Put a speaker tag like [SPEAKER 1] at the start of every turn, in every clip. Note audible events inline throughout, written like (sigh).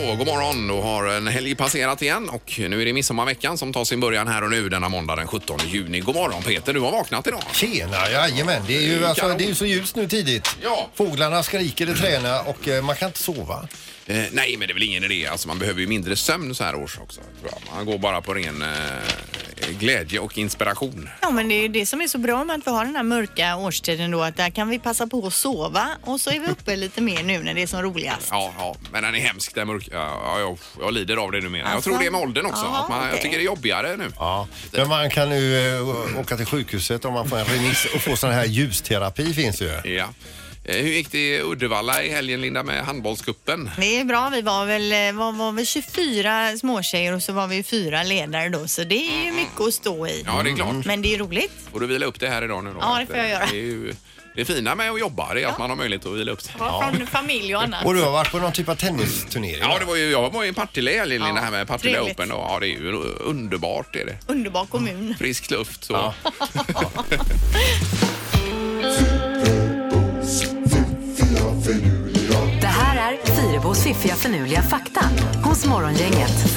[SPEAKER 1] morgon. Då har en helg passerat igen och nu är det midsommarveckan som tar sin början här och nu denna måndag den 17 juni. God morgon Peter, du har vaknat idag.
[SPEAKER 2] Tjena, jajamän. Det är ju alltså, det är ju så ljust nu tidigt.
[SPEAKER 1] Ja.
[SPEAKER 2] Fåglarna skriker, det tränar och eh, man kan inte sova.
[SPEAKER 1] Eh, nej, men det är väl ingen idé. Alltså, man behöver ju mindre sömn så här års också. Tror jag. Man går bara på ren eh, glädje och inspiration.
[SPEAKER 3] Ja, men det är ju det som är så bra med att vi har den här mörka årstiden då, att där kan vi passa på att sova och så är vi uppe lite mer nu när det är som roligast.
[SPEAKER 1] Ja, ja. men den är hemsk den mörka. Ja, jag, jag lider av det numera. Jag
[SPEAKER 3] Alltså?
[SPEAKER 1] tror det är med åldern också.
[SPEAKER 3] Jaha,
[SPEAKER 1] att man, Jag
[SPEAKER 3] okej.
[SPEAKER 1] tycker det är jobbigare nu.
[SPEAKER 2] Ja. Men man kan nu eh, åka till sjukhuset om man får en remiss och få sån här ljusterapi finns ju.
[SPEAKER 1] Ja. Eh, Hur gick det i Uddevalla i helgen Linda med handbollscupen?
[SPEAKER 3] Det är bra, vi var väl, eh, var, var väl 24 småtjejer och så var vi fyra ledare då, så det är ju mycket att stå i.
[SPEAKER 1] Ja, det är klart.
[SPEAKER 3] Men det är roligt.
[SPEAKER 1] Får du vila upp det här idag nu då? eh,
[SPEAKER 3] Ja, det får jag göra.
[SPEAKER 1] Det, är ju, det fina med att jobba det är att man har möjlighet att vila upp sig.
[SPEAKER 3] Ja. Från familj och annat.
[SPEAKER 2] Och du har varit på någon typ av tennisturnering?
[SPEAKER 1] Ja, det var ju, jag var ju i Partille i helgen, Linda,
[SPEAKER 3] Ja,
[SPEAKER 1] här med Partille
[SPEAKER 3] trevligt.
[SPEAKER 1] Open. Då. Ja, det är ju underbart. Är det.
[SPEAKER 3] Underbar kommun.
[SPEAKER 1] Frisk luft. Så.
[SPEAKER 4] Det här är Fyrabos fiffiga förnuliga fakta hos Morgongänget.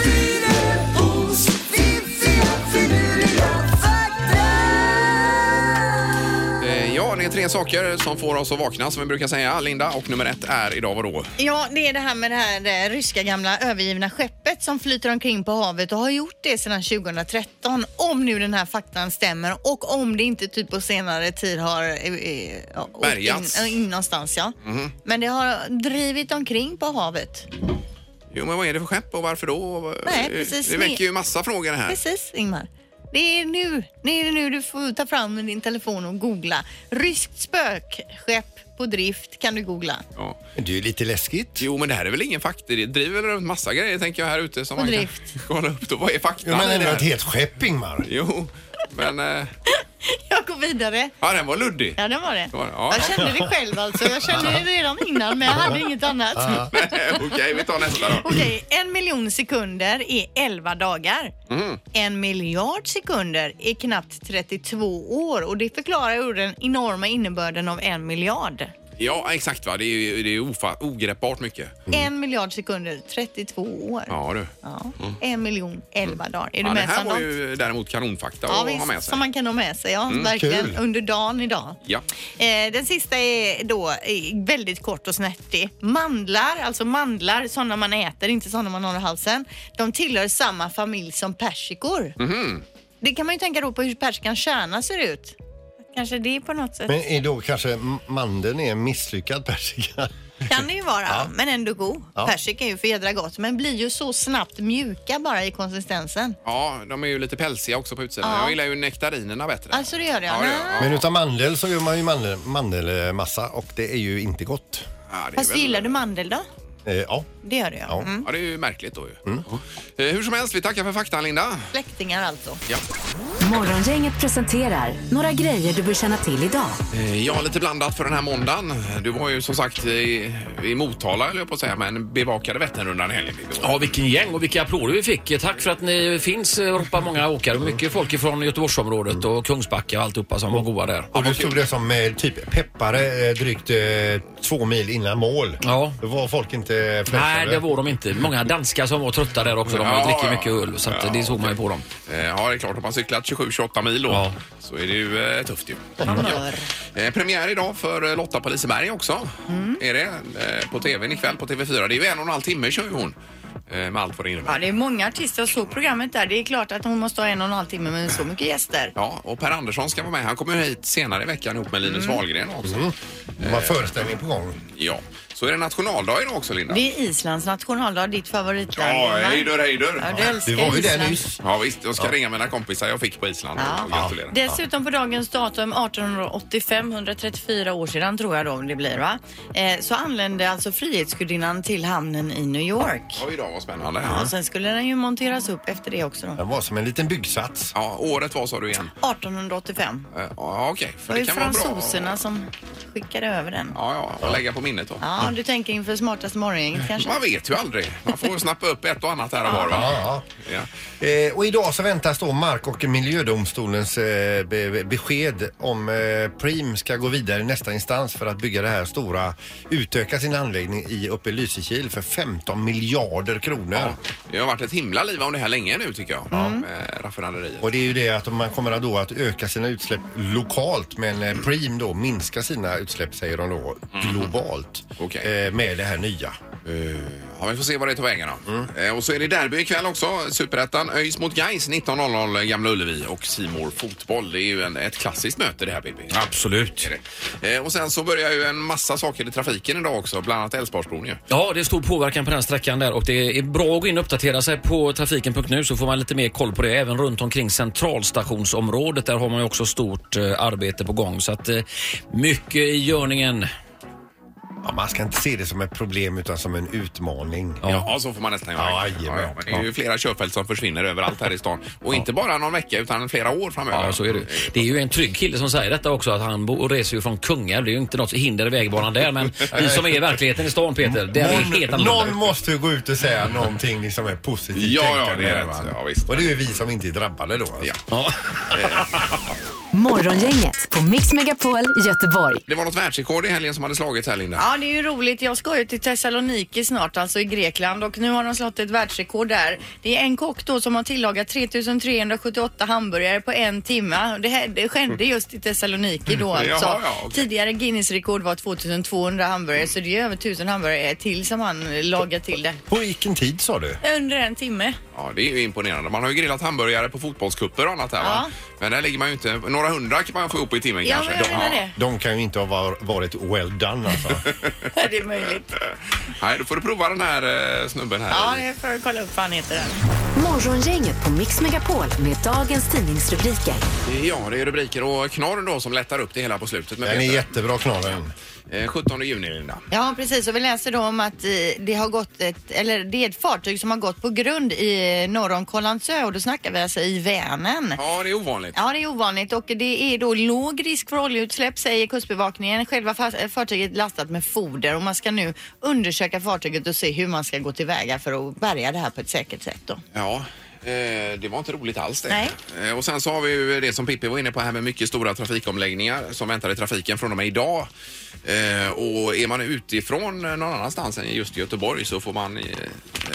[SPEAKER 1] Eh, Ja, det är tre saker som får oss att vakna som vi brukar säga, Linda. Och nummer ett är idag vadå?
[SPEAKER 3] Ja, det är det här med det här eh, ryska gamla övergivna skeppet som flyter omkring på havet och har gjort det sedan 2013. Om nu den här faktan stämmer och om det inte typ på senare tid har eh, eh, ja, åkt
[SPEAKER 1] Bärgats.
[SPEAKER 3] In, in någonstans, ja. Men det har drivit omkring på havet.
[SPEAKER 1] Jo, men vad är det för skepp och varför då?
[SPEAKER 3] Nej,
[SPEAKER 1] Eh,
[SPEAKER 3] precis.
[SPEAKER 1] Det väcker ju massa frågor det här.
[SPEAKER 3] Precis, Ingmar. Det är nu, det är nu du får ta fram din telefon och googla. Ryskt spökskepp på drift kan du googla. (laughs)
[SPEAKER 1] Ja.
[SPEAKER 2] Men Det är ju lite läskigt.
[SPEAKER 1] Jo, men det här är väl ingen fakta. Det driver väl runt massa grejer tänker jag här ute som
[SPEAKER 3] Och
[SPEAKER 1] man kan
[SPEAKER 3] drift.
[SPEAKER 1] kolla upp. Då. Vad är fakta?
[SPEAKER 2] Jo, men
[SPEAKER 1] i
[SPEAKER 2] är
[SPEAKER 1] det
[SPEAKER 2] det
[SPEAKER 1] här?
[SPEAKER 2] ett helt skepp Ingmar?
[SPEAKER 1] Jo, men... eh,
[SPEAKER 3] Jag går vidare.
[SPEAKER 1] Ja, den var luddig.
[SPEAKER 3] Ja, det var det.
[SPEAKER 1] Det var det, ja.
[SPEAKER 3] Jag kände det själv alltså. Jag kände det redan innan men jag hade inget annat.
[SPEAKER 1] (laughs) Okej, vi tar nästa då.
[SPEAKER 3] Okej, en miljon sekunder är 11 dagar.
[SPEAKER 1] Mm.
[SPEAKER 3] En miljard sekunder är knappt 32 år och det förklarar ju den enorma innebörden av en miljard.
[SPEAKER 1] Ja, exakt va. Det är, ju- det är ofa, ogreppbart mycket.
[SPEAKER 3] En miljard sekunder, 32 år.
[SPEAKER 1] Ja du.
[SPEAKER 3] Ja. En miljon, 11 dagar. Är du
[SPEAKER 1] Ja, det
[SPEAKER 3] med
[SPEAKER 1] här var
[SPEAKER 3] Sandra?
[SPEAKER 1] ju däremot kanonfakta
[SPEAKER 3] Ja,
[SPEAKER 1] att ha med
[SPEAKER 3] visst,
[SPEAKER 1] sig. Mm,
[SPEAKER 3] som man kan ha med sig. Ja, verkligen.
[SPEAKER 2] kul.
[SPEAKER 3] Under dagen idag.
[SPEAKER 1] Ja.
[SPEAKER 3] Eh, den sista är då eh, väldigt kort och snärtig. Mandlar, alltså mandlar, sådana man äter, inte sådana man har i halsen. De tillhör samma familj som persikor.
[SPEAKER 1] Mhm.
[SPEAKER 3] Det kan man ju tänka då på hur persikans kärna ser ut. Kanske det på något sätt
[SPEAKER 2] Men är då kanske m- mandeln är en misslyckad persika?
[SPEAKER 3] kan det ju vara, men ändå god.
[SPEAKER 2] Ja.
[SPEAKER 3] Persika är ju för jädra gott, men blir ju så snabbt mjuka bara i konsistensen.
[SPEAKER 1] Ja, de är ju lite pälsiga också på utsidan.
[SPEAKER 3] Ja.
[SPEAKER 1] Jag gillar ju nektarinerna bättre.
[SPEAKER 3] Alltså det gör jag.
[SPEAKER 1] Ja, det gör jag.
[SPEAKER 2] Men utan mandel så gör man ju mandel, mandelmassa och det är ju inte gott.
[SPEAKER 1] Ja, det är
[SPEAKER 3] Fast
[SPEAKER 1] väl-
[SPEAKER 3] gillar du mandel då?
[SPEAKER 2] Eh, ja.
[SPEAKER 3] Det gör du ja.
[SPEAKER 2] Ja.
[SPEAKER 3] Mm.
[SPEAKER 1] Ja, det är ju märkligt då ju.
[SPEAKER 5] Mm.
[SPEAKER 1] Ja. Eh, Hur som helst, vi tackar för faktan Linda.
[SPEAKER 3] Släktingar alltså.
[SPEAKER 1] Ja.
[SPEAKER 4] Morgongänget presenterar några grejer du bör känna till idag.
[SPEAKER 1] Eh, Ja, lite blandat för den här måndagen. Du var ju som sagt i, i Motala, höll jag på att säga, men bevakade Vätternrundan i helgen.
[SPEAKER 5] Ja, vilken gäng och vilka applåder vi fick. Tack för att ni finns, eh, ropar många åkare. Mycket folk från Göteborgsområdet
[SPEAKER 1] Mm.
[SPEAKER 5] och Kungsbacka och alltihopa som var goa där.
[SPEAKER 2] Och du stod det som eh, typ peppare eh, drygt eh, två mil innan mål.
[SPEAKER 5] Ja.
[SPEAKER 2] Då var folk inte pressade.
[SPEAKER 5] Nej, det var de inte. Många danskar som var trötta där också. De
[SPEAKER 1] Ja,
[SPEAKER 5] dricker
[SPEAKER 1] ja.
[SPEAKER 5] mycket öl, så att
[SPEAKER 1] Ja,
[SPEAKER 5] det såg man ju på dem.
[SPEAKER 1] Eh, Ja, det är klart. Om man cyklat 27-28 mil då,
[SPEAKER 5] Ja.
[SPEAKER 1] så är det ju eh, tufft ju.
[SPEAKER 3] Amör.
[SPEAKER 1] Eh, premiär idag för eh, Lotta på Liseberg också.
[SPEAKER 3] Mm.
[SPEAKER 1] Är det eh, på tvn ikväll på TV4. Det är ju en och en halv timme kör ju hon. Eh, med allt vad det
[SPEAKER 3] Ja,
[SPEAKER 1] innebär.
[SPEAKER 3] det är många artister. Jag såg programmet där. Det är klart att hon måste ha en och en halv timme med så mycket gäster.
[SPEAKER 1] Ja, och Per Andersson ska vara med. Han kommer ju hit senare i veckan ihop med Linus
[SPEAKER 3] Mm.
[SPEAKER 1] Wahlgren också.
[SPEAKER 2] Mm. Det var föreställning på gång.
[SPEAKER 1] Ja. Så är det nationaldag idag också, Linda.
[SPEAKER 3] Det är Islands nationaldag, ditt favoritland.
[SPEAKER 1] Ja,
[SPEAKER 3] va?
[SPEAKER 1] hejdur, hejdur.
[SPEAKER 3] Ja, du älskar
[SPEAKER 2] Du var ju
[SPEAKER 3] Island.
[SPEAKER 2] där nyss.
[SPEAKER 1] Ja, visst. Jag ska ringa mina kompisar jag fick på Island och
[SPEAKER 3] Ja.
[SPEAKER 1] gratulera.
[SPEAKER 3] Dessutom på dagens datum 1885, 134 år sedan tror jag då det blir va? Eh, så anlände alltså Frihetsgudinnan till hamnen i New York.
[SPEAKER 1] Ja, idag var spännande.
[SPEAKER 3] Och sen skulle den ju monteras upp efter det också då.
[SPEAKER 2] Den var som en liten byggsats.
[SPEAKER 1] Ja, året var sa du igen?
[SPEAKER 3] 1885.
[SPEAKER 1] Eh, Ja, okej.
[SPEAKER 3] Det
[SPEAKER 1] För
[SPEAKER 3] var
[SPEAKER 1] det
[SPEAKER 3] ju
[SPEAKER 1] kan vara bra.
[SPEAKER 3] fransoserna som skickade över den.
[SPEAKER 1] Ja, ja. Och lägga på minnet då.
[SPEAKER 3] Ja, Ja, du tänker inför smartaste morgongänget kanske?
[SPEAKER 1] Man vet ju aldrig. Man får snappa upp ett och annat här och var. Va?
[SPEAKER 2] Ja,
[SPEAKER 1] Ja.
[SPEAKER 2] ja. Eh, och idag så väntas då Mark och miljödomstolens eh, be, besked om eh, Preem ska gå vidare i nästa instans för att bygga det här stora, utöka sin anläggning i uppe i Lysekil för 15 miljarder kronor.
[SPEAKER 1] Ja. Det har varit ett himla liv om det här länge nu tycker jag. Med raffinaderiet.
[SPEAKER 2] Och det är ju det att man kommer då att öka sina utsläpp lokalt men eh, Preem då minskar sina utsläpp säger de då globalt
[SPEAKER 1] Mhm. Okej.
[SPEAKER 2] eh, med det här nya.
[SPEAKER 1] Eh, Ja, vi får se vad det tar vägen då. Eh, Och så är det derby ikväll också. Superettan. ÖIS mot Gais 19.00 Gamla Ullevi och Simor Fotboll. Det är ju en, ett klassiskt möte det här Bibi.
[SPEAKER 5] Absolut.
[SPEAKER 1] Är det. Eh, Och sen så börjar ju en massa saker i trafiken idag också. Bland annat Älvsborgsbron ju.
[SPEAKER 5] Ja, det är stor påverkan på den sträckan där och det är bra att gå in och uppdatera sig på trafiken.nu så får man lite mer koll på det. Även runt omkring centralstationsområdet där har man ju också stort eh, arbete på gång. Så att eh, mycket i görningen.
[SPEAKER 2] Ja, man ska inte se det som ett problem utan som en utmaning.
[SPEAKER 1] Ja. så får man nästan göra.
[SPEAKER 2] Ja, jajamän.
[SPEAKER 1] men det är ju flera körfält som försvinner överallt här i stan. Och inte bara någon vecka utan flera år framöver. Eh,
[SPEAKER 5] Ja, så är det. Det är ju en trygg kille som säger detta också att han bo- och reser ju från Kungälv. Det är ju inte något hinder i vägbanan där men vi som är i verkligheten i stan Peter, det är helt
[SPEAKER 2] Någon, någon
[SPEAKER 5] annorlunda.
[SPEAKER 2] måste ju gå ut och säga någonting liksom är positivt
[SPEAKER 1] Ja, ja,
[SPEAKER 2] tänkande
[SPEAKER 1] det är
[SPEAKER 2] här,
[SPEAKER 1] rätt.
[SPEAKER 2] va?
[SPEAKER 1] Ja, visst.
[SPEAKER 2] Och det är ju vi som inte är drabbade då. Alltså.
[SPEAKER 1] Ja.
[SPEAKER 5] Ja.
[SPEAKER 4] Morgongänget på Mix Megapol Göteborg.
[SPEAKER 1] Det var något världsrekord i helgen som hade slagits här Linda.
[SPEAKER 3] Ja, det är ju roligt. Jag ska ju till Thessaloniki snart, alltså i Grekland och nu har de slått ett världsrekord där. Det är en kock då som har tillagat 3378 hamburgare på en timme. Det, här, det skedde just i Thessaloniki då
[SPEAKER 1] Mm.
[SPEAKER 3] alltså.
[SPEAKER 1] Jaha, ja, okej.
[SPEAKER 3] Tidigare Guinness rekord var 2200 hamburgare så det är över 1000 hamburgare till som han lagar till det.
[SPEAKER 2] På vilken tid sa du?
[SPEAKER 3] Under en timme.
[SPEAKER 1] Ja, det är ju imponerande. Man har ju grillat hamburgare på fotbollskupper och annat här va?
[SPEAKER 3] Ja.
[SPEAKER 1] Men där ligger man ju inte... Några hundra kan man få ihop i timmen
[SPEAKER 3] Ja,
[SPEAKER 1] kanske.
[SPEAKER 3] men jag menar
[SPEAKER 1] (laughs)
[SPEAKER 3] det.
[SPEAKER 2] De kan ju inte ha var, varit well done alltså.
[SPEAKER 3] Det är möjligt.
[SPEAKER 1] Eh, Nej, då får du prova den här eh, snubben här.
[SPEAKER 3] Ja, det får jag kolla upp vad han heter. Där.
[SPEAKER 4] Morgongänget på Mix Megapol med dagens tidningsrubriker.
[SPEAKER 1] Ja, det är rubriker och knorr då som lättar upp det hela på slutet. Med
[SPEAKER 2] Den är
[SPEAKER 1] Peter.
[SPEAKER 2] jättebra knorren.
[SPEAKER 1] Eh, 17 juni Linda.
[SPEAKER 3] Ja, precis. Och vi läser då om att eh, det har gått ett, eller det är ett fartyg som har gått på grund i eh, norr om Kållandsö och då snackar vi alltså i Vänern.
[SPEAKER 1] Ja, det är ovanligt.
[SPEAKER 3] Ja, det är ovanligt och det är då låg risk för oljeutsläpp säger Kustbevakningen. Själva fa- eh, fartyget är lastat med foder och man ska nu undersöka fartyget och se hur man ska gå tillväga för att bärga det här på ett säkert sätt då.
[SPEAKER 1] Ja. eh, Det var inte roligt alls det.
[SPEAKER 3] Nej.
[SPEAKER 1] Eh, Och sen så har vi ju det som Pippi var inne på här med mycket stora trafikomläggningar som väntar i trafiken från och med idag. Eh, Och är man utifrån någon annanstans än just Göteborg så får man eh,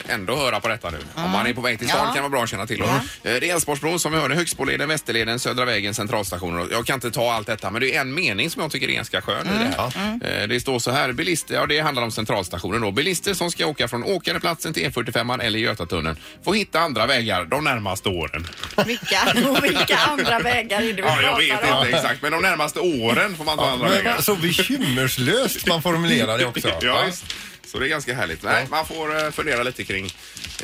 [SPEAKER 1] ändå höra på detta nu. Om man är på väg till stan
[SPEAKER 3] Ja.
[SPEAKER 1] kan det vara bra att känna till. Eh, Det är Älvsborgsbron som vi hörde, Högsboleden, Västerleden, Södra vägen, Centralstationen. Jag kan inte ta allt detta men det är en mening som jag tycker är ganska skön i det här.
[SPEAKER 3] Mm.
[SPEAKER 1] Eh, Det står så här, bilister, ja det handlar om Centralstationen då. Bilister som ska åka från Åkareplatsen till E45 eller Götatunneln får hitta andra vägar de närmaste åren. (laughs)
[SPEAKER 3] Vilka, och vilka andra vägar är det vi
[SPEAKER 1] Ja, jag
[SPEAKER 3] pratar
[SPEAKER 1] vet
[SPEAKER 3] om?
[SPEAKER 1] inte exakt men de närmaste åren får man ta andra vägar.
[SPEAKER 2] Men, så bekymmerslöst man formulerar det också.
[SPEAKER 1] (laughs) Ja, visst. Så det är ganska härligt. Nej, man får eh, fundera lite kring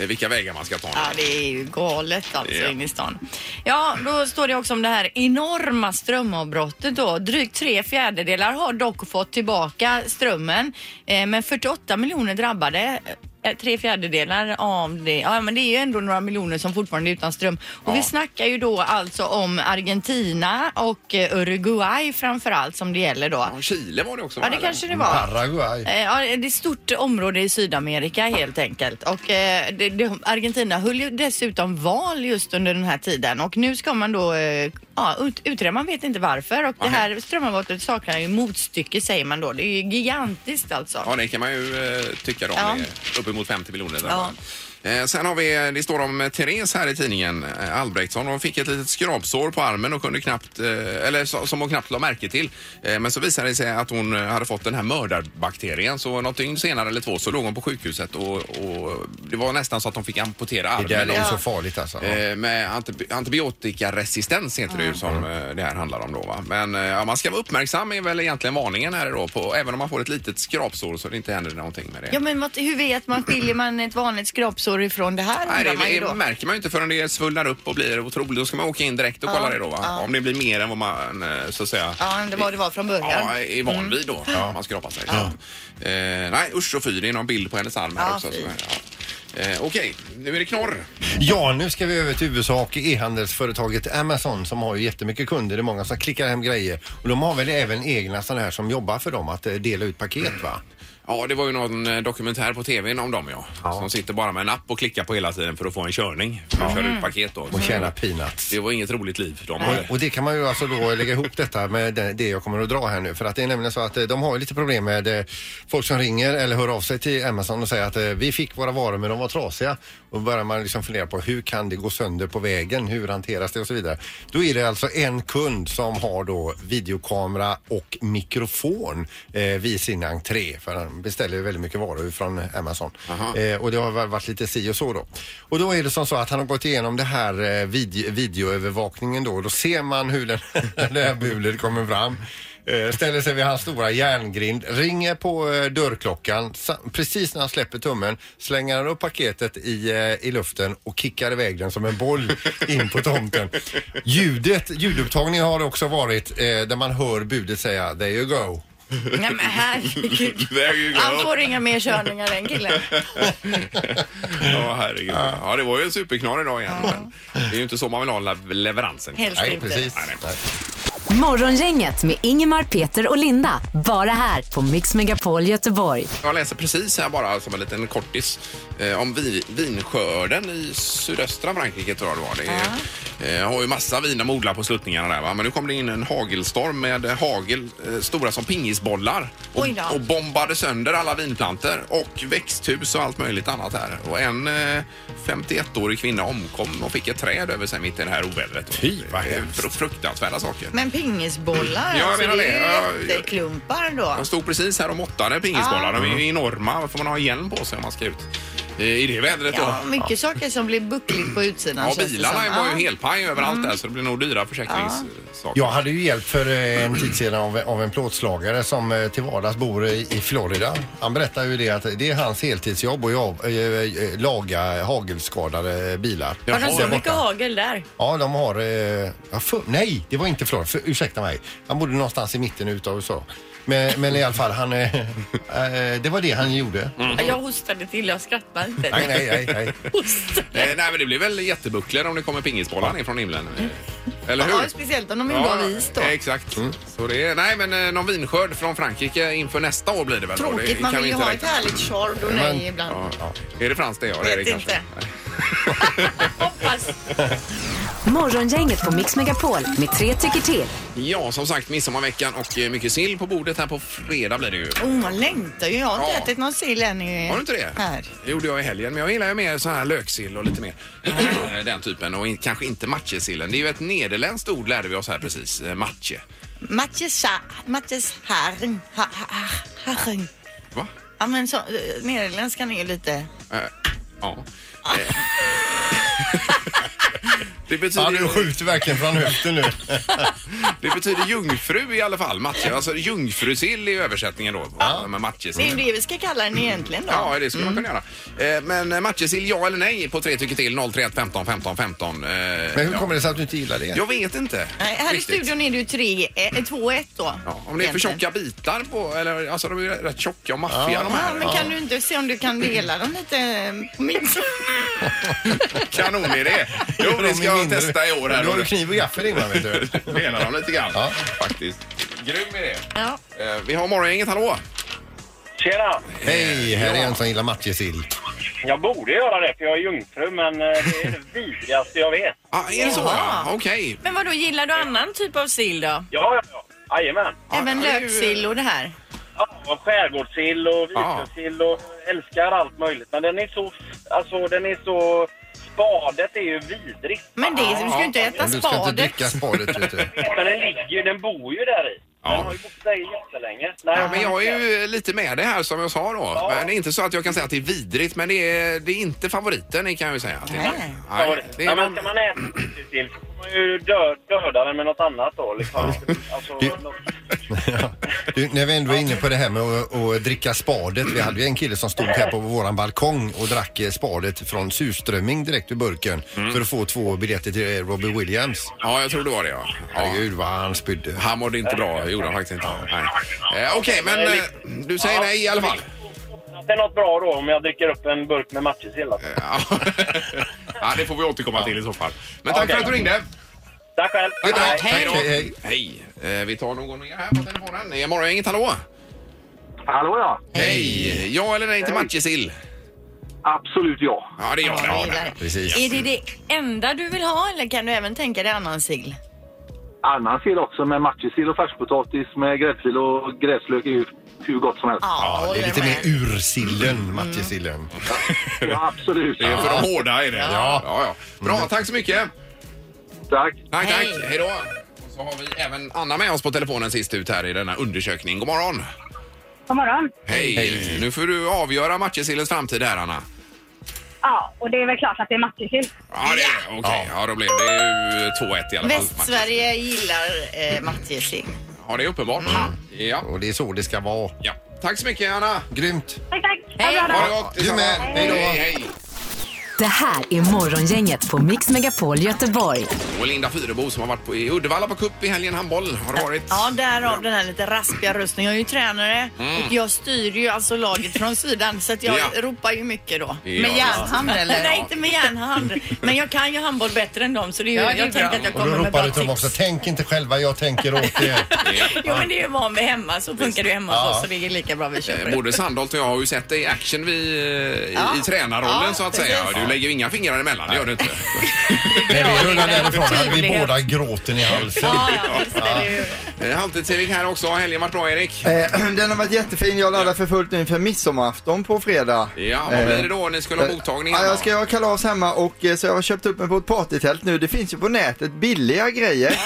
[SPEAKER 1] eh, vilka vägar man ska ta.
[SPEAKER 3] Ja, det är ju galet alltså
[SPEAKER 1] Ja.
[SPEAKER 3] inne i stan. Ja, då står det också om det här enorma strömavbrottet då. Drygt tre fjärdedelar har dock fått tillbaka strömmen, eh, men 48 miljoner drabbade. eh, Tre fjärdedelar av det. Ja, men det är ju ändå några miljoner som fortfarande är utan ström. Och
[SPEAKER 1] Ja.
[SPEAKER 3] vi snackar ju då alltså om Argentina och eh, Uruguay framför allt som det gäller då.
[SPEAKER 1] Ja, Chile var det också.
[SPEAKER 3] Ja, det
[SPEAKER 1] eller?
[SPEAKER 3] kanske det var.
[SPEAKER 2] Paraguay.
[SPEAKER 3] Eh, Ja, det är ett stort område i Sydamerika helt enkelt. Och eh, det, det, Argentina höll ju dessutom val just under den här tiden och nu ska man då eh, ja, ut, utreda, man vet inte varför. Och det här strömavbrottet saknar ju motstycke säger man då. Det är ju gigantiskt alltså.
[SPEAKER 1] Ja, det kan man ju eh, tycka då.
[SPEAKER 3] Ja.
[SPEAKER 1] om det är Uppemot 50 miljoner. där.
[SPEAKER 3] Ja.
[SPEAKER 1] Eh, Sen har vi, det står om eh, Therese här i tidningen, eh, Albrektsson. Hon fick ett litet skrapsår på armen och kunde knappt, eh, eller så- som hon knappt la märke till. Eh, Men så visade det sig att hon eh, hade fått den här mördarbakterien. Så något dygn senare eller två så låg hon på sjukhuset och, och det var nästan så att de fick amputera
[SPEAKER 2] Det
[SPEAKER 1] armen.
[SPEAKER 2] där är
[SPEAKER 1] Ja.
[SPEAKER 2] ju så farligt alltså.
[SPEAKER 1] Eh, med antibi- antibiotikaresistens heter det ju som eh, det här handlar om då. Va? Men eh, ja, man ska vara uppmärksam är väl egentligen varningen här då. På, även om man får ett litet skrapsår så det inte händer någonting med det.
[SPEAKER 3] Ja men vad, hur vet man, skiljer man ett vanligt skrapsår ifrån det här
[SPEAKER 1] Nej,
[SPEAKER 3] undrar man ju
[SPEAKER 1] det, det
[SPEAKER 3] då.
[SPEAKER 1] märker man ju inte förrän det svullnar upp och blir otroligt. Då ska man åka in direkt och kolla det då va? Om det blir mer än vad man eh, så att säga
[SPEAKER 3] Ja, det var det var från början. Mm.
[SPEAKER 1] ja, är van vid då. Ja. Man skrapar sig. Eh, nej usch och fy, det är någon bild på hennes arm här
[SPEAKER 3] Ja,
[SPEAKER 1] också.
[SPEAKER 3] fy.
[SPEAKER 1] som är- Ja. Eh, Okej, nu är det knorr.
[SPEAKER 2] Ja, nu ska vi över till USA och e-handelsföretaget Amazon som har ju jättemycket kunder. Det är många som klickar hem grejer. Och de har väl även egna sådana här som jobbar för dem att eh, dela ut paket va?
[SPEAKER 1] Ja, det var ju någon eh, dokumentär på tvn om dem ja. Som sitter bara med en app och klickar på hela tiden för att få en körning. För att köra ut paket då.
[SPEAKER 2] Och
[SPEAKER 1] Så
[SPEAKER 2] tjäna peanuts.
[SPEAKER 1] Det var inget roligt liv de hade. (laughs)
[SPEAKER 2] Och, och det kan man ju alltså då lägga ihop detta med det, det jag kommer att dra här nu. För att det är nämligen så att eh, de har ju lite problem med eh, folk som ringer eller hör av sig till Amazon och säger att eh, vi fick våra varor men de var trasiga. Och börjar man liksom fundera på hur kan det gå sönder på vägen? Hur hanteras det och så vidare. Då är det alltså en kund som har då videokamera och mikrofon eh, vid sin entré. För han beställer ju väldigt mycket varor från Amazon.
[SPEAKER 1] Aha.
[SPEAKER 2] Eh, och det har väl varit lite si och så då. Och då är det som så att han har gått igenom det här eh, video, videoövervakningen då. Då ser man hur den, (laughs) det här bulet kommer fram. Eh, ställer sig vid hans stora järngrind, ringer på eh, dörrklockan. Sa- precis när han släpper tummen slänger han upp paketet i, eh, i luften och kickar iväg den som en boll in på tomten. Ljudet, ljudupptagningen har det också varit eh, där man hör budet säga “There you go”.
[SPEAKER 3] Nej
[SPEAKER 1] (laughs)
[SPEAKER 3] men herregud.
[SPEAKER 1] There you go.
[SPEAKER 3] Han får inga mer körningar den killen.
[SPEAKER 1] Ja, herregud. Ja, det var ju en superknar idag igen. Men det är ju inte så man vill ha le- leveransen.
[SPEAKER 3] Helst inte.
[SPEAKER 1] Nej, nej.
[SPEAKER 4] Morgongänget med Ingemar, Peter och Linda. Bara här på Mix Megapol Göteborg.
[SPEAKER 1] Jag läser precis här bara som en liten kortis eh, om vi, vinskörden i sydöstra Frankrike tror jag det var. Det är, eh, har ju massa vin de odlar på sluttningarna där va? Men nu kom det in en hagelstorm med eh, hagel eh, stora som pingisbollar och,
[SPEAKER 3] Oj då.
[SPEAKER 1] och bombade sönder alla vinplanter och växthus och allt möjligt annat här. Och en eh, 51-årig kvinna omkom och fick ett träd över sig mitt i det här ovädret. Fy,
[SPEAKER 2] vad
[SPEAKER 1] Fruktansvärda saker.
[SPEAKER 3] Men pingisbollar,
[SPEAKER 1] Ja, jag
[SPEAKER 3] alltså,
[SPEAKER 1] menar
[SPEAKER 3] det
[SPEAKER 1] det.
[SPEAKER 3] är ju
[SPEAKER 1] Ja,
[SPEAKER 3] jätteklumpar då.
[SPEAKER 1] De stod precis här och måttade pingisbollar.
[SPEAKER 3] Ah.
[SPEAKER 1] De är ju enorma. Då får man ha hjälm på sig om man ska ut eh, i det vädret.
[SPEAKER 3] Ja,
[SPEAKER 1] då.
[SPEAKER 3] mycket saker som blir buckligt på utsidan.
[SPEAKER 1] Ja,
[SPEAKER 3] känns ah. det
[SPEAKER 1] bilarna
[SPEAKER 3] som.
[SPEAKER 1] var ju
[SPEAKER 3] Ja.
[SPEAKER 1] helpaj överallt
[SPEAKER 3] Mm.
[SPEAKER 1] där så det blir nog dyra försäkringssaker.
[SPEAKER 2] Jag hade ju hjälp för eh, en tid sedan av, av en plåtslagare som eh, till vardags bor i, i Florida. Han berättar ju det att det är hans heltidsjobb att jag, eh, eh, laga hagelskadade bilar.
[SPEAKER 1] Har de så
[SPEAKER 2] Där
[SPEAKER 1] mycket
[SPEAKER 2] borta.
[SPEAKER 6] hagel där.
[SPEAKER 2] Ja, de har... Eh, ja, för, nej, det var inte Florida. För, ursäkta mig. Han bodde någonstans i mitten utav USA. Men, men i alla fall, han, eh, eh, det var det han gjorde.
[SPEAKER 1] Mm.
[SPEAKER 6] Jag hostade till, jag skrattar inte.
[SPEAKER 2] Nej, nej, nej. nej.
[SPEAKER 6] Hostade.
[SPEAKER 1] Eh, nej, men det blir väl jättebucklor om det kommer pingisbollar ner från himlen. Eh, Eller hur?
[SPEAKER 3] Mm. Ja, speciellt om de är gjorda av is då.
[SPEAKER 1] eh, Exakt.
[SPEAKER 3] Mm.
[SPEAKER 1] Så det är, nej, men eh, någon vinskörd från Frankrike inför nästa år blir det väl. då.
[SPEAKER 3] Tråkigt,
[SPEAKER 1] det,
[SPEAKER 3] man vill ju
[SPEAKER 1] inte
[SPEAKER 3] ha ett
[SPEAKER 1] räkna.
[SPEAKER 3] härligt
[SPEAKER 2] Men-
[SPEAKER 3] chardonnay ibland.
[SPEAKER 1] Ja. Är det franskt det? Ja, det är det
[SPEAKER 3] Vet
[SPEAKER 1] kanske.
[SPEAKER 3] inte.
[SPEAKER 6] Hoppas.
[SPEAKER 4] Morgongänget på Mix Megapol med tre tycker till.
[SPEAKER 1] Ja, som sagt, midsommarveckan och eh, mycket sill på bordet här på fredag blir det ju.
[SPEAKER 3] Oh, man längtar ju. Jag har inte
[SPEAKER 1] Ja.
[SPEAKER 3] ätit någon sill än. i-
[SPEAKER 1] Har du inte det?
[SPEAKER 3] Här.
[SPEAKER 1] Det gjorde jag i helgen, men jag gillar ju mer så här löksill och lite mer (clears throat) den typen och in, kanske inte matjessillen. Det är ju ett nederländskt ord lärde vi oss här precis, eh, matje.
[SPEAKER 3] Matjes herring. Ha- ha- ha- Herring.
[SPEAKER 1] Va?
[SPEAKER 3] Ja, men så, eh, nederländskan är ju lite...
[SPEAKER 1] Eh, ja. Eh. (laughs) det,
[SPEAKER 2] Ja,
[SPEAKER 1] betyder,
[SPEAKER 2] du skjuter verkligen från höften nu.
[SPEAKER 1] det betyder jungfru i alla fall, matje. Alltså jungfrusill i översättningen då, med
[SPEAKER 3] Det Mm. är ju
[SPEAKER 1] matjesill.
[SPEAKER 3] det vi ska kalla den egentligen då.
[SPEAKER 1] Mm. Ja, det skulle man kunna göra. Eh, Men eh, matjesill, ja eller nej på tre tycker till 031 15 15 15. Eh,
[SPEAKER 2] Men hur
[SPEAKER 1] ja.
[SPEAKER 2] kommer det sig att du inte gillar det?
[SPEAKER 1] Jag vet inte.
[SPEAKER 3] Nej, här
[SPEAKER 1] riktigt.
[SPEAKER 3] i studion är det ju tre, eh, två, ett då.
[SPEAKER 1] Ja, om det är för
[SPEAKER 3] Egentligen.
[SPEAKER 1] tjocka bitar på, eller alltså de är ju rätt tjocka och maffiga de
[SPEAKER 3] Ja,
[SPEAKER 1] här.
[SPEAKER 3] men kan du inte se om du kan dela dem lite? eh, på Min...
[SPEAKER 1] Kanonidé! Jo, det ska jag
[SPEAKER 2] mindre.
[SPEAKER 1] testa i år här.
[SPEAKER 2] Du har ju kniv och gaffel innan, vet du.
[SPEAKER 1] Menar de lite grann,
[SPEAKER 2] Ja.
[SPEAKER 1] faktiskt. Grym idé.
[SPEAKER 3] Ja.
[SPEAKER 1] Eh, Vi har morgongänget, hallå!
[SPEAKER 7] Tjena!
[SPEAKER 2] Hej, här är en som gillar matjessill.
[SPEAKER 7] Jag borde göra det för jag är jungfru men eh, det är det (laughs) vidrigaste jag vet.
[SPEAKER 1] Ah, är det så? Ja, okej.
[SPEAKER 6] Men vadå, gillar du annan typ av sill då?
[SPEAKER 7] Ja, ja, ja. Jajamän.
[SPEAKER 1] Ja,
[SPEAKER 3] Även
[SPEAKER 1] det är ju-
[SPEAKER 3] löksill och det här.
[SPEAKER 7] Ja, och skärgårdssill och vitlökssill och älskar allt möjligt. Men den är så... Alltså den är så... Spadet är ju vidrigt.
[SPEAKER 3] Men det, du ska ju inte äta
[SPEAKER 2] Men Du ska inte
[SPEAKER 3] spadet.
[SPEAKER 2] dricka spadet, vet du. (laughs)
[SPEAKER 7] Men den ligger ju, den bor ju där i. Den
[SPEAKER 1] Ja.
[SPEAKER 7] har ju bott där i jättelänge. Nej,
[SPEAKER 1] Ja, men jag är ju lite med det här som jag sa då. Men det är inte så att jag kan säga att det är vidrigt, men det är, det är inte favoriten kan jag ju säga. att det är.
[SPEAKER 3] Nej.
[SPEAKER 1] Nej, det är
[SPEAKER 7] Nej, men ska man äta sill så får man ju dö, döda den med något annat då liksom. Alltså,
[SPEAKER 2] Det-
[SPEAKER 7] något-
[SPEAKER 2] Ja. Du, när vi ändå är inne på det här med att, att dricka spadet. Vi hade ju en kille som stod här på våran balkong och drack eh, spadet från surströmming direkt ur burken för att få två biljetter till eh, Robbie Williams.
[SPEAKER 1] ja, jag tror det var det ja. ja.
[SPEAKER 2] Herregud vad han spydde.
[SPEAKER 1] Han mådde inte bra, gjorde han faktiskt inte. Nej. Eh, Okej, men eh, du säger nej i alla fall.
[SPEAKER 7] Det är något bra då om jag dricker upp en burk med matjessill. Alltså.
[SPEAKER 1] Ja. (laughs) ja, det får vi återkomma till i så fall. Men tack för att du ringde.
[SPEAKER 7] Tack själv!
[SPEAKER 1] Hej,
[SPEAKER 2] Hej, hej.
[SPEAKER 1] Eh, Hej. Eh, Vi tar någon mer här på telefonen. Det är morgongänget, hallå?
[SPEAKER 8] Hallå ja.
[SPEAKER 1] Hej! Ja eller nej till matjessill?
[SPEAKER 8] Absolut ja.
[SPEAKER 1] Ja, det är jag. Ja,
[SPEAKER 3] Ja, det är det.
[SPEAKER 2] Precis.
[SPEAKER 3] Är det det enda du vill ha eller kan du även tänka dig annan sill?
[SPEAKER 8] Annan sill också med matjessill och färskpotatis med gräddfil och gräslök är ju hur gott som helst.
[SPEAKER 2] Ja, det är Mm. lite mer ursillen, matjessillen.
[SPEAKER 8] Ja, absolut.
[SPEAKER 1] Det är för de hårda är det.
[SPEAKER 2] Ja.
[SPEAKER 1] Ja, ja. Bra, tack så mycket.
[SPEAKER 8] Tack.
[SPEAKER 1] Tack, tack.
[SPEAKER 3] Hej.
[SPEAKER 1] Hej då. Och Så har vi även Anna med oss på telefonen sist ut här i denna undersökning. God morgon!
[SPEAKER 9] God morgon.
[SPEAKER 1] Hej! Nu får du avgöra matjessillens framtid här, Anna.
[SPEAKER 9] Ja, och det är väl klart att det är matjessill.
[SPEAKER 1] Ja, det är det. Okej, ja. då blev det ju 2-1 i alla fall.
[SPEAKER 3] Västsverige gillar eh, matjessill.
[SPEAKER 1] Ja, det är uppenbart.
[SPEAKER 3] Mm.
[SPEAKER 1] Ja.
[SPEAKER 2] Och det är så det ska vara.
[SPEAKER 1] ja. Tack så mycket, Anna.
[SPEAKER 2] Grymt!
[SPEAKER 9] Tack, tack.
[SPEAKER 3] Hej.
[SPEAKER 9] Ha det bra
[SPEAKER 1] Ha
[SPEAKER 9] då.
[SPEAKER 1] det gott.
[SPEAKER 2] Du med.
[SPEAKER 1] Hej,
[SPEAKER 2] Hej då.
[SPEAKER 1] hej.
[SPEAKER 4] Det här är Morgongänget på Mix Megapol Göteborg.
[SPEAKER 1] Och Linda Fyrebo som har varit på, i Uddevalla på cup i helgen, handboll, har det varit.
[SPEAKER 3] Ja, därav den här lite raspiga rösten. Jag är ju tränare och jag styr ju alltså laget från sidan så att jag
[SPEAKER 1] Mm. Ja.
[SPEAKER 3] ropar ju mycket då.
[SPEAKER 1] Ja,
[SPEAKER 3] Med järnhand eller? Nej, inte med järnhand.
[SPEAKER 10] Men jag kan ju handboll bättre än dem så det är ju,
[SPEAKER 3] Ja, det är
[SPEAKER 10] jag tänkte
[SPEAKER 3] bra.
[SPEAKER 10] att jag
[SPEAKER 2] Och då
[SPEAKER 10] kommer med
[SPEAKER 2] ropar
[SPEAKER 10] bra
[SPEAKER 2] du till dem
[SPEAKER 10] tips.
[SPEAKER 2] också, tänk inte själva, jag tänker åt (laughs) er.
[SPEAKER 10] Jo men det är ju van med hemma så funkar det ju hemma hos oss så det är lika bra vi köper
[SPEAKER 1] Eh,
[SPEAKER 10] det.
[SPEAKER 1] Både Sandholt och jag har ju sett dig i action vid, eh, i, i tränarrollen
[SPEAKER 3] Ja,
[SPEAKER 1] så att
[SPEAKER 3] precis.
[SPEAKER 1] säga. Du lägger ju inga fingrar emellan, det gör du inte.
[SPEAKER 2] När vi rullade
[SPEAKER 10] det är
[SPEAKER 2] därifrån hade vi
[SPEAKER 10] tydlighet.
[SPEAKER 2] båda gråten i halsen.
[SPEAKER 10] Ja, ja, visst, det är ju-
[SPEAKER 1] Eh, Halvtids-Erik här också. Har helgen varit bra, Erik?
[SPEAKER 11] Eh, (clears throat) Den har varit jättefin. Jag laddar för fullt nu inför midsommarafton på fredag.
[SPEAKER 1] Ja, vad blir
[SPEAKER 11] Eh,
[SPEAKER 1] det då? Ni skulle ha
[SPEAKER 11] eh,
[SPEAKER 1] mottagning
[SPEAKER 11] Ja,
[SPEAKER 1] hemma.
[SPEAKER 11] jag ska ha kalas hemma och eh, så jag har köpt upp mig på ett partytält nu. Det finns ju på nätet billiga grejer. (laughs)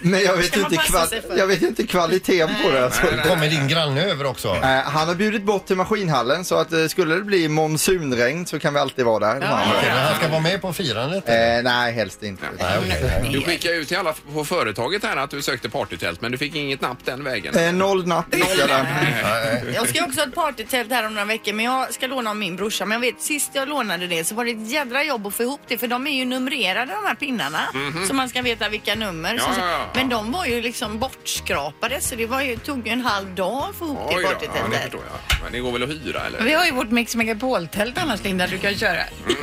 [SPEAKER 11] Men jag vet,
[SPEAKER 3] ska man
[SPEAKER 11] inte,
[SPEAKER 3] passa sig
[SPEAKER 11] kval-
[SPEAKER 3] för.
[SPEAKER 11] jag vet inte kvaliteten på det. Alltså.
[SPEAKER 1] nej,
[SPEAKER 2] Kommer din granne över också?
[SPEAKER 11] Eh, Han har bjudit bort till maskinhallen så att eh, skulle det bli monsunregn så kan vi alltid vara där. de andra.
[SPEAKER 2] Okej, men han ska vara med på firandet?
[SPEAKER 11] Eh, nej, helst inte.
[SPEAKER 2] Nej, okej.
[SPEAKER 1] Du skickade ut till alla f- på företaget här att du sökte partytält, men du fick inget napp den vägen.
[SPEAKER 11] Eh, noll napp fick jag där.
[SPEAKER 3] Jag ska ju också ha ett partytält här om några veckor men jag ska låna av min brorsa. Men jag vet sist jag lånade det så var det ett jädra jobb att få ihop det för de är ju numrerade de här pinnarna. Så man ska veta vilka nummer.
[SPEAKER 1] Mhm. Ja,
[SPEAKER 3] så,
[SPEAKER 1] ja, ja.
[SPEAKER 3] Men de var ju liksom bortskrapade så det var ju, tog ju en halv dag att få ihop
[SPEAKER 1] Oj
[SPEAKER 3] det
[SPEAKER 1] då, ja, det
[SPEAKER 3] partytältet.
[SPEAKER 1] förstår jag. Men det går väl att hyra eller?
[SPEAKER 12] Vi har ju vårt Mix Megapol-tält annars Linda, du kan köra.
[SPEAKER 3] Mm.
[SPEAKER 12] (laughs)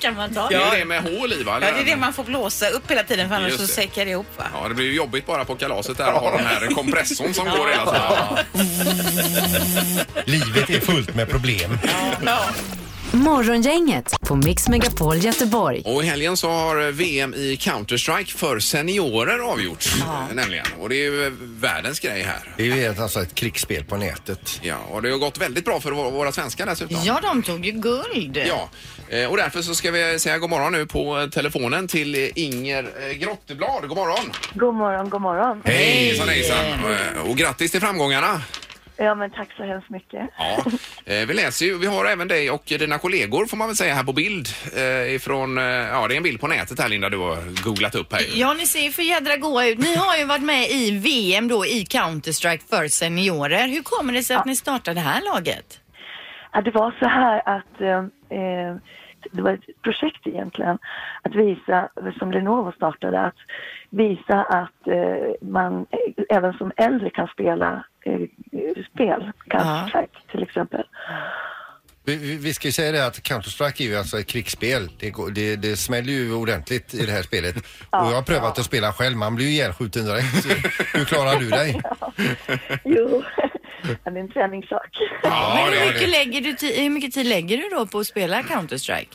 [SPEAKER 10] Kan man ta?
[SPEAKER 1] Det är ju det med hål i va?
[SPEAKER 12] Ja,
[SPEAKER 1] eller?
[SPEAKER 12] det är det man får blåsa upp hela tiden för annars
[SPEAKER 1] Just
[SPEAKER 12] så
[SPEAKER 1] det.
[SPEAKER 12] säckar det ihop va?
[SPEAKER 1] Ja, det blir ju jobbigt bara på kalaset där att ha den här kompressorn som går hela tiden.
[SPEAKER 2] Livet är fullt med problem.
[SPEAKER 4] Morgongänget på Mix Megapol Göteborg.
[SPEAKER 1] Och i helgen så har VM i Counter-Strike för seniorer avgjorts. Nämligen. Och det är ju världens grej här.
[SPEAKER 2] Det är ju ett- alltså ett krigsspel på nätet.
[SPEAKER 1] Ja, och det har gått väldigt bra för vå- våra svenskar dessutom.
[SPEAKER 3] Ja, de tog ju guld.
[SPEAKER 1] Ja, eh, och därför så ska vi säga god morgon nu på eh, telefonen till eh, Inger eh, Grotteblad. God morgon!
[SPEAKER 9] God morgon, god morgon.
[SPEAKER 1] Hej! Hejsan, hejsan. Eh, Och grattis till framgångarna!
[SPEAKER 9] Ja, men tack så hemskt mycket.
[SPEAKER 1] Ja, eh, vi läser ju, vi har även dig och dina kollegor får man väl säga här på bild eh, ifrån, eh, ja det är en bild på nätet här Linda du har googlat upp här ju.
[SPEAKER 3] Ja, ni ser ju för jädra goa ut. Ni har ju varit med i VM då i Counter-Strike för seniorer. Hur kommer det sig att ni startade det här laget?
[SPEAKER 9] Ja, det var så här att eh, eh, det var ett projekt egentligen att visa, som Lenovo startade, att visa att eh, man eh, även som äldre kan spela eh, spel, Counter-Strike till exempel.
[SPEAKER 2] Vi- Vi, vi ska ju säga det att Counter-Strike är ju alltså ett krigsspel. Det, går- det, det smäller ju ordentligt i det här spelet. Och jag har prövat att spela själv, man blir ju ihjälskjuten direkt. Hur klarar du dig?
[SPEAKER 9] Jo, ja, det är en träningssak.
[SPEAKER 1] Ja,
[SPEAKER 3] Men
[SPEAKER 1] det
[SPEAKER 3] hur
[SPEAKER 1] har
[SPEAKER 3] mycket,
[SPEAKER 1] det.
[SPEAKER 3] lägger du ti- hur mycket tid lägger du då på att spela Counter-Strike?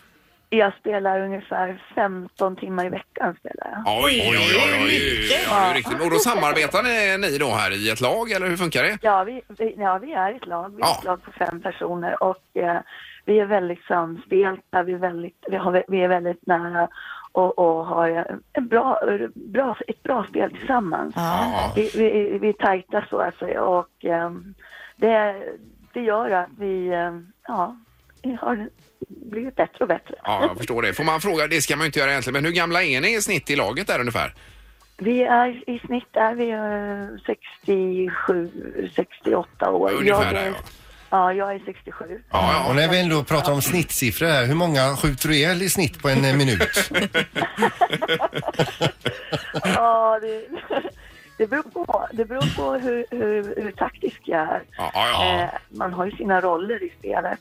[SPEAKER 9] Jag spelar ungefär 15 timmar i veckan. Spelar jag.
[SPEAKER 1] Oj, oj, oj, oj, oj. Ja, det är riktigt. Och då samarbetar ni, ni då här i ett lag eller hur funkar det?
[SPEAKER 9] Ja vi, vi, ja, vi är ett lag. Vi är
[SPEAKER 1] Ja.
[SPEAKER 9] ett lag på fem personer och eh, vi är väldigt samspelta. Vi är väldigt, vi har, vi är väldigt nära och, och har en- en bra, bra, ett bra spel tillsammans.
[SPEAKER 1] Ja.
[SPEAKER 9] Vi, vi, vi är tajta så att säga och eh, det, det gör att vi, eh, ja, vi har blivit bättre och bättre.
[SPEAKER 1] Ja, jag förstår det. Får man fråga, det ska man ju inte göra egentligen, men hur gamla är ni i snitt i laget där ungefär?
[SPEAKER 9] Vi är i snitt är vi eh, 67, 68 år.
[SPEAKER 1] Ungefär
[SPEAKER 9] jag
[SPEAKER 1] där,
[SPEAKER 9] är,
[SPEAKER 1] ja.
[SPEAKER 9] ja, jag är 67.
[SPEAKER 1] Ja,
[SPEAKER 2] Och
[SPEAKER 1] ja.
[SPEAKER 2] när vi ändå pratar om snittsiffror här, hur många skjuter du ihjäl i snitt på en eh, minut?
[SPEAKER 9] Ja, det, (laughs) det, beror på, det beror på hur, hur, hur taktisk jag är.
[SPEAKER 1] Ja, ja, ja.
[SPEAKER 9] Eh, man har ju sina roller i spelet.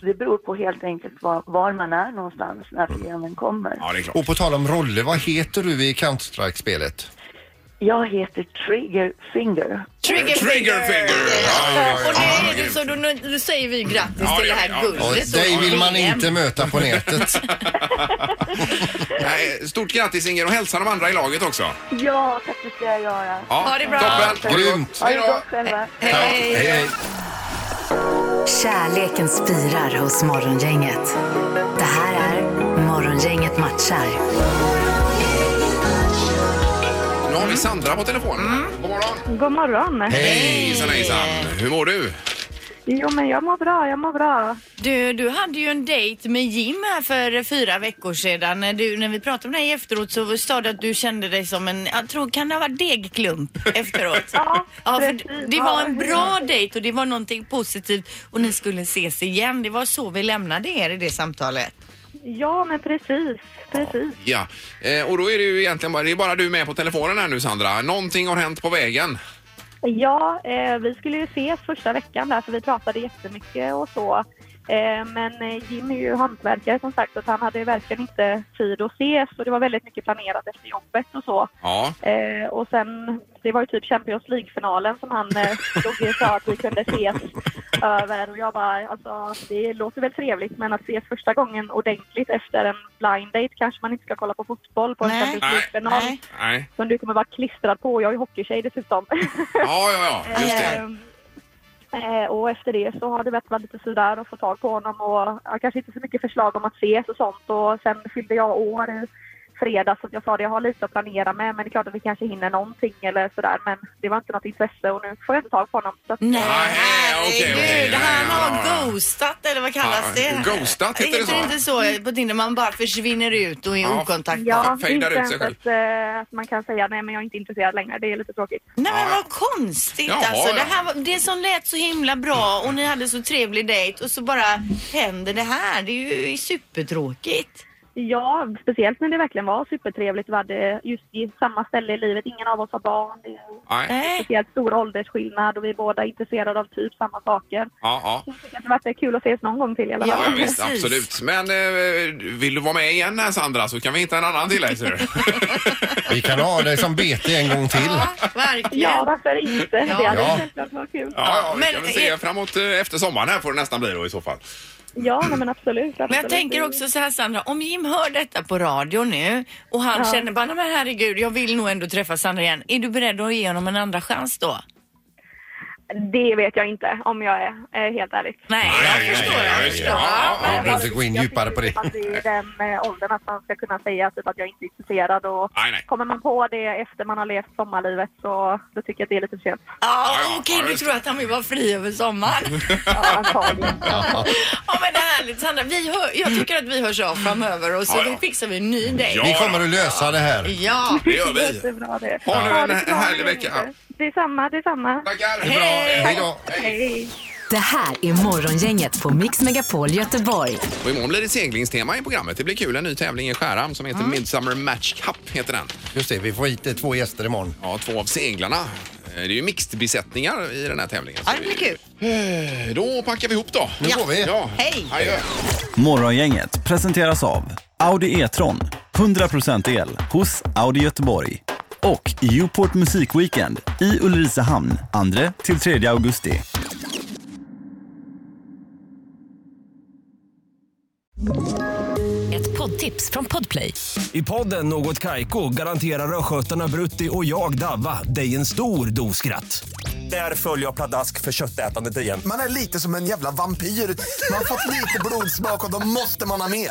[SPEAKER 9] Så det beror på helt enkelt var, var man är någonstans när fienden kommer.
[SPEAKER 1] Mm. ja det är klart.
[SPEAKER 2] Och på tal om roller, vad heter du i Counter-Strike-spelet?
[SPEAKER 9] Jag heter Trigger Finger.
[SPEAKER 3] Trigger
[SPEAKER 1] Trigger finger! Ja, ja, ja.
[SPEAKER 3] Och det är det så då, då säger vi grattis
[SPEAKER 1] Ja,
[SPEAKER 3] till det E
[SPEAKER 1] ja,
[SPEAKER 3] här
[SPEAKER 1] ja.
[SPEAKER 3] guldet.
[SPEAKER 1] Ja, dig vill man
[SPEAKER 3] VM.
[SPEAKER 1] inte
[SPEAKER 2] möta på nätet.
[SPEAKER 1] Nej, Stort grattis Inger och hälsa de andra i laget också.
[SPEAKER 13] Ja, tack det ska jag göra.
[SPEAKER 1] Ja, Ha det bra. toppen. Ha det grymt.
[SPEAKER 13] Ha det gott själva.
[SPEAKER 1] hej.
[SPEAKER 4] Kärleken spirar hos Morgongänget. Det här är Morgongänget matchar.
[SPEAKER 1] Nu har vi Sandra på telefonen. God morgon.
[SPEAKER 13] God morgon.
[SPEAKER 1] Hejsan hejsan. Hur mår du?
[SPEAKER 13] Jo, men jag mår bra, jag mår bra.
[SPEAKER 3] Du, du hade ju en dejt med Jim här för fyra veckor sedan. När, du, när vi pratade om det här efteråt så sa du att du kände dig som en, jag tror, kan det ha varit degklump efteråt? ja, för
[SPEAKER 13] precis.
[SPEAKER 3] det var en
[SPEAKER 13] Ja,
[SPEAKER 3] bra dejt och det var någonting positivt och ni skulle ses igen. Det var så vi lämnade er i det samtalet.
[SPEAKER 13] Ja, men precis, precis.
[SPEAKER 1] Ja, eh, och då är det ju egentligen bara, det är bara du med på telefonen här nu Sandra. Någonting har hänt på vägen.
[SPEAKER 9] Ja, eh, vi skulle ju ses första veckan där för vi pratade jättemycket och så. Eh, men eh, Jim är ju hantverkare som sagt så att han hade ju verkligen inte tid att ses och det var väldigt mycket planerat efter jobbet och så.
[SPEAKER 1] Ja.
[SPEAKER 9] Eh, och sen, det var ju typ Champions League-finalen som han eh, stod och sa att vi kunde ses över och jag bara, alltså det låter väl trevligt men att ses första gången ordentligt efter en blind date kanske man inte ska kolla på fotboll på en Champions League-final.
[SPEAKER 1] Nej.
[SPEAKER 9] Som du kommer vara klistrad på, jag är ju hockeytjej dessutom.
[SPEAKER 1] Ja, ja, ja. Just
[SPEAKER 2] Eh,
[SPEAKER 1] det.
[SPEAKER 9] Eh, eh, Och efter det så har det varit lite sådär att få tag på honom och ja, kanske inte så mycket förslag om att ses och sånt. Och sen fyllde jag år i fredags så att jag sa det, jag har lite att planera med men det är klart att vi kanske hinner någonting eller sådär. Men det var inte något intresse och nu får jag inte tag på honom. Så
[SPEAKER 3] Mm.
[SPEAKER 9] att...
[SPEAKER 1] okej, okej.
[SPEAKER 3] Herregud,
[SPEAKER 1] Ja,
[SPEAKER 3] han
[SPEAKER 1] ja, ja,
[SPEAKER 3] har
[SPEAKER 1] ja.
[SPEAKER 3] ghostat eller vad kallas
[SPEAKER 1] Ja,
[SPEAKER 3] det?
[SPEAKER 1] ghostat, heter det så?
[SPEAKER 3] Heter inte så på Tinder? Man bara försvinner ut och är
[SPEAKER 1] Ja,
[SPEAKER 3] okontaktbar.
[SPEAKER 9] Ja,
[SPEAKER 1] Fejdar
[SPEAKER 9] inte
[SPEAKER 1] ut
[SPEAKER 9] ens
[SPEAKER 1] sig själv.
[SPEAKER 9] att, eh, att man kan säga nej men jag är inte intresserad längre. Det är lite tråkigt.
[SPEAKER 3] Nej men vad konstigt
[SPEAKER 9] Jaha,
[SPEAKER 3] alltså. Det,
[SPEAKER 9] ja.
[SPEAKER 3] här, var- det som lät så himla bra och ni hade så trevlig dejt och så bara händer det här. Det är ju supertråkigt.
[SPEAKER 9] Ja, speciellt när det verkligen var supertrevligt. Vi hade just i samma ställe i livet. Ingen av oss har barn. Det är
[SPEAKER 2] eh.
[SPEAKER 1] Nej.
[SPEAKER 9] speciellt stor åldersskillnad och vi är båda intresserade av typ samma saker.
[SPEAKER 1] Ja, ja.
[SPEAKER 9] Jag tycker att det varit kul att ses någon gång till i alla
[SPEAKER 1] Ja,
[SPEAKER 9] fall.
[SPEAKER 1] ja, visst, absolut. Men eh, vill du vara med igen här Sandra så kan vi hitta en annan till dig. ser
[SPEAKER 2] (laughs)
[SPEAKER 1] du.
[SPEAKER 2] Vi kan ha dig som bete en gång till.
[SPEAKER 3] Verkligen.
[SPEAKER 9] Ja, varför inte? Det hade
[SPEAKER 1] Ja.
[SPEAKER 9] självklart varit kul.
[SPEAKER 1] Ja, ja, vi kan väl se framåt eh, efter sommaren här får det nästan bli då i så fall.
[SPEAKER 9] Ja, nej, men absolut.
[SPEAKER 3] Men jag tänker också så här Sandra, om Jim hör detta på radio nu och han
[SPEAKER 9] Ja.
[SPEAKER 3] känner bara, "Nej, men herregud, jag vill nog ändå träffa Sandra igen. Är du beredd att ge honom en andra chans då?
[SPEAKER 9] Det vet jag inte om jag är, är helt ärlig.
[SPEAKER 3] Nej,
[SPEAKER 2] jag förstår. Jag förstår. Ja, ja, ja. Vi behöver inte gå in djupare på det.
[SPEAKER 9] Att det är i den eh, åldern att man ska kunna säga typ att jag inte är intresserad. Och Kommer man på det efter man har levt sommarlivet så då tycker jag att det är lite för sent.
[SPEAKER 3] Ja, okej, du tror att han vill vara fri över (laughs) sommaren.
[SPEAKER 2] (laughs)
[SPEAKER 3] ja, men det är härligt Sandra. Vi hör, jag tycker att vi hörs av framöver och så
[SPEAKER 2] Ja, ja.
[SPEAKER 3] fixar vi en ny dejt.
[SPEAKER 2] Vi kommer att lösa det här.
[SPEAKER 3] Ja,
[SPEAKER 2] Det gör vi.
[SPEAKER 9] Jättebra (laughs) det.
[SPEAKER 2] Ha nu en
[SPEAKER 9] det så bra.
[SPEAKER 2] härlig vecka.
[SPEAKER 9] Detsamma, detsamma.
[SPEAKER 1] Tackar.
[SPEAKER 9] Hej.
[SPEAKER 2] Hej då.
[SPEAKER 9] Hej.
[SPEAKER 4] Det här är Morgongänget på Mix Megapol Göteborg.
[SPEAKER 1] Och imorgon blir det seglingstema i programmet. Det blir kul. En ny tävling i Skärhamn som
[SPEAKER 2] Mm.
[SPEAKER 1] heter Midsummer Match Cup. Heter den.
[SPEAKER 2] Just det, vi får hit eh, två gäster imorgon.
[SPEAKER 1] Ja, två av seglarna. Eh, Det är ju mixedbesättningar i den här tävlingen. Så det blir kul. Då packar vi ihop då. Nu går vi. Ja. Hej! Adjö.
[SPEAKER 14] Morgongänget presenteras av Audi E-tron. 100% el hos Audi Göteborg. Och Uport Musikweekend i Ulricehamn 2-3 augusti.
[SPEAKER 4] Ett poddtips från Podplay.
[SPEAKER 15] I podden Något Kaiko garanterar östgötarna Brutti och jag, Davva, dig en stor dos skratt. Där följer jag pladask för köttätandet igen.
[SPEAKER 11] (laughs) Man är lite som en jävla vampyr. Man har fått lite blodsmak och då måste man ha mer.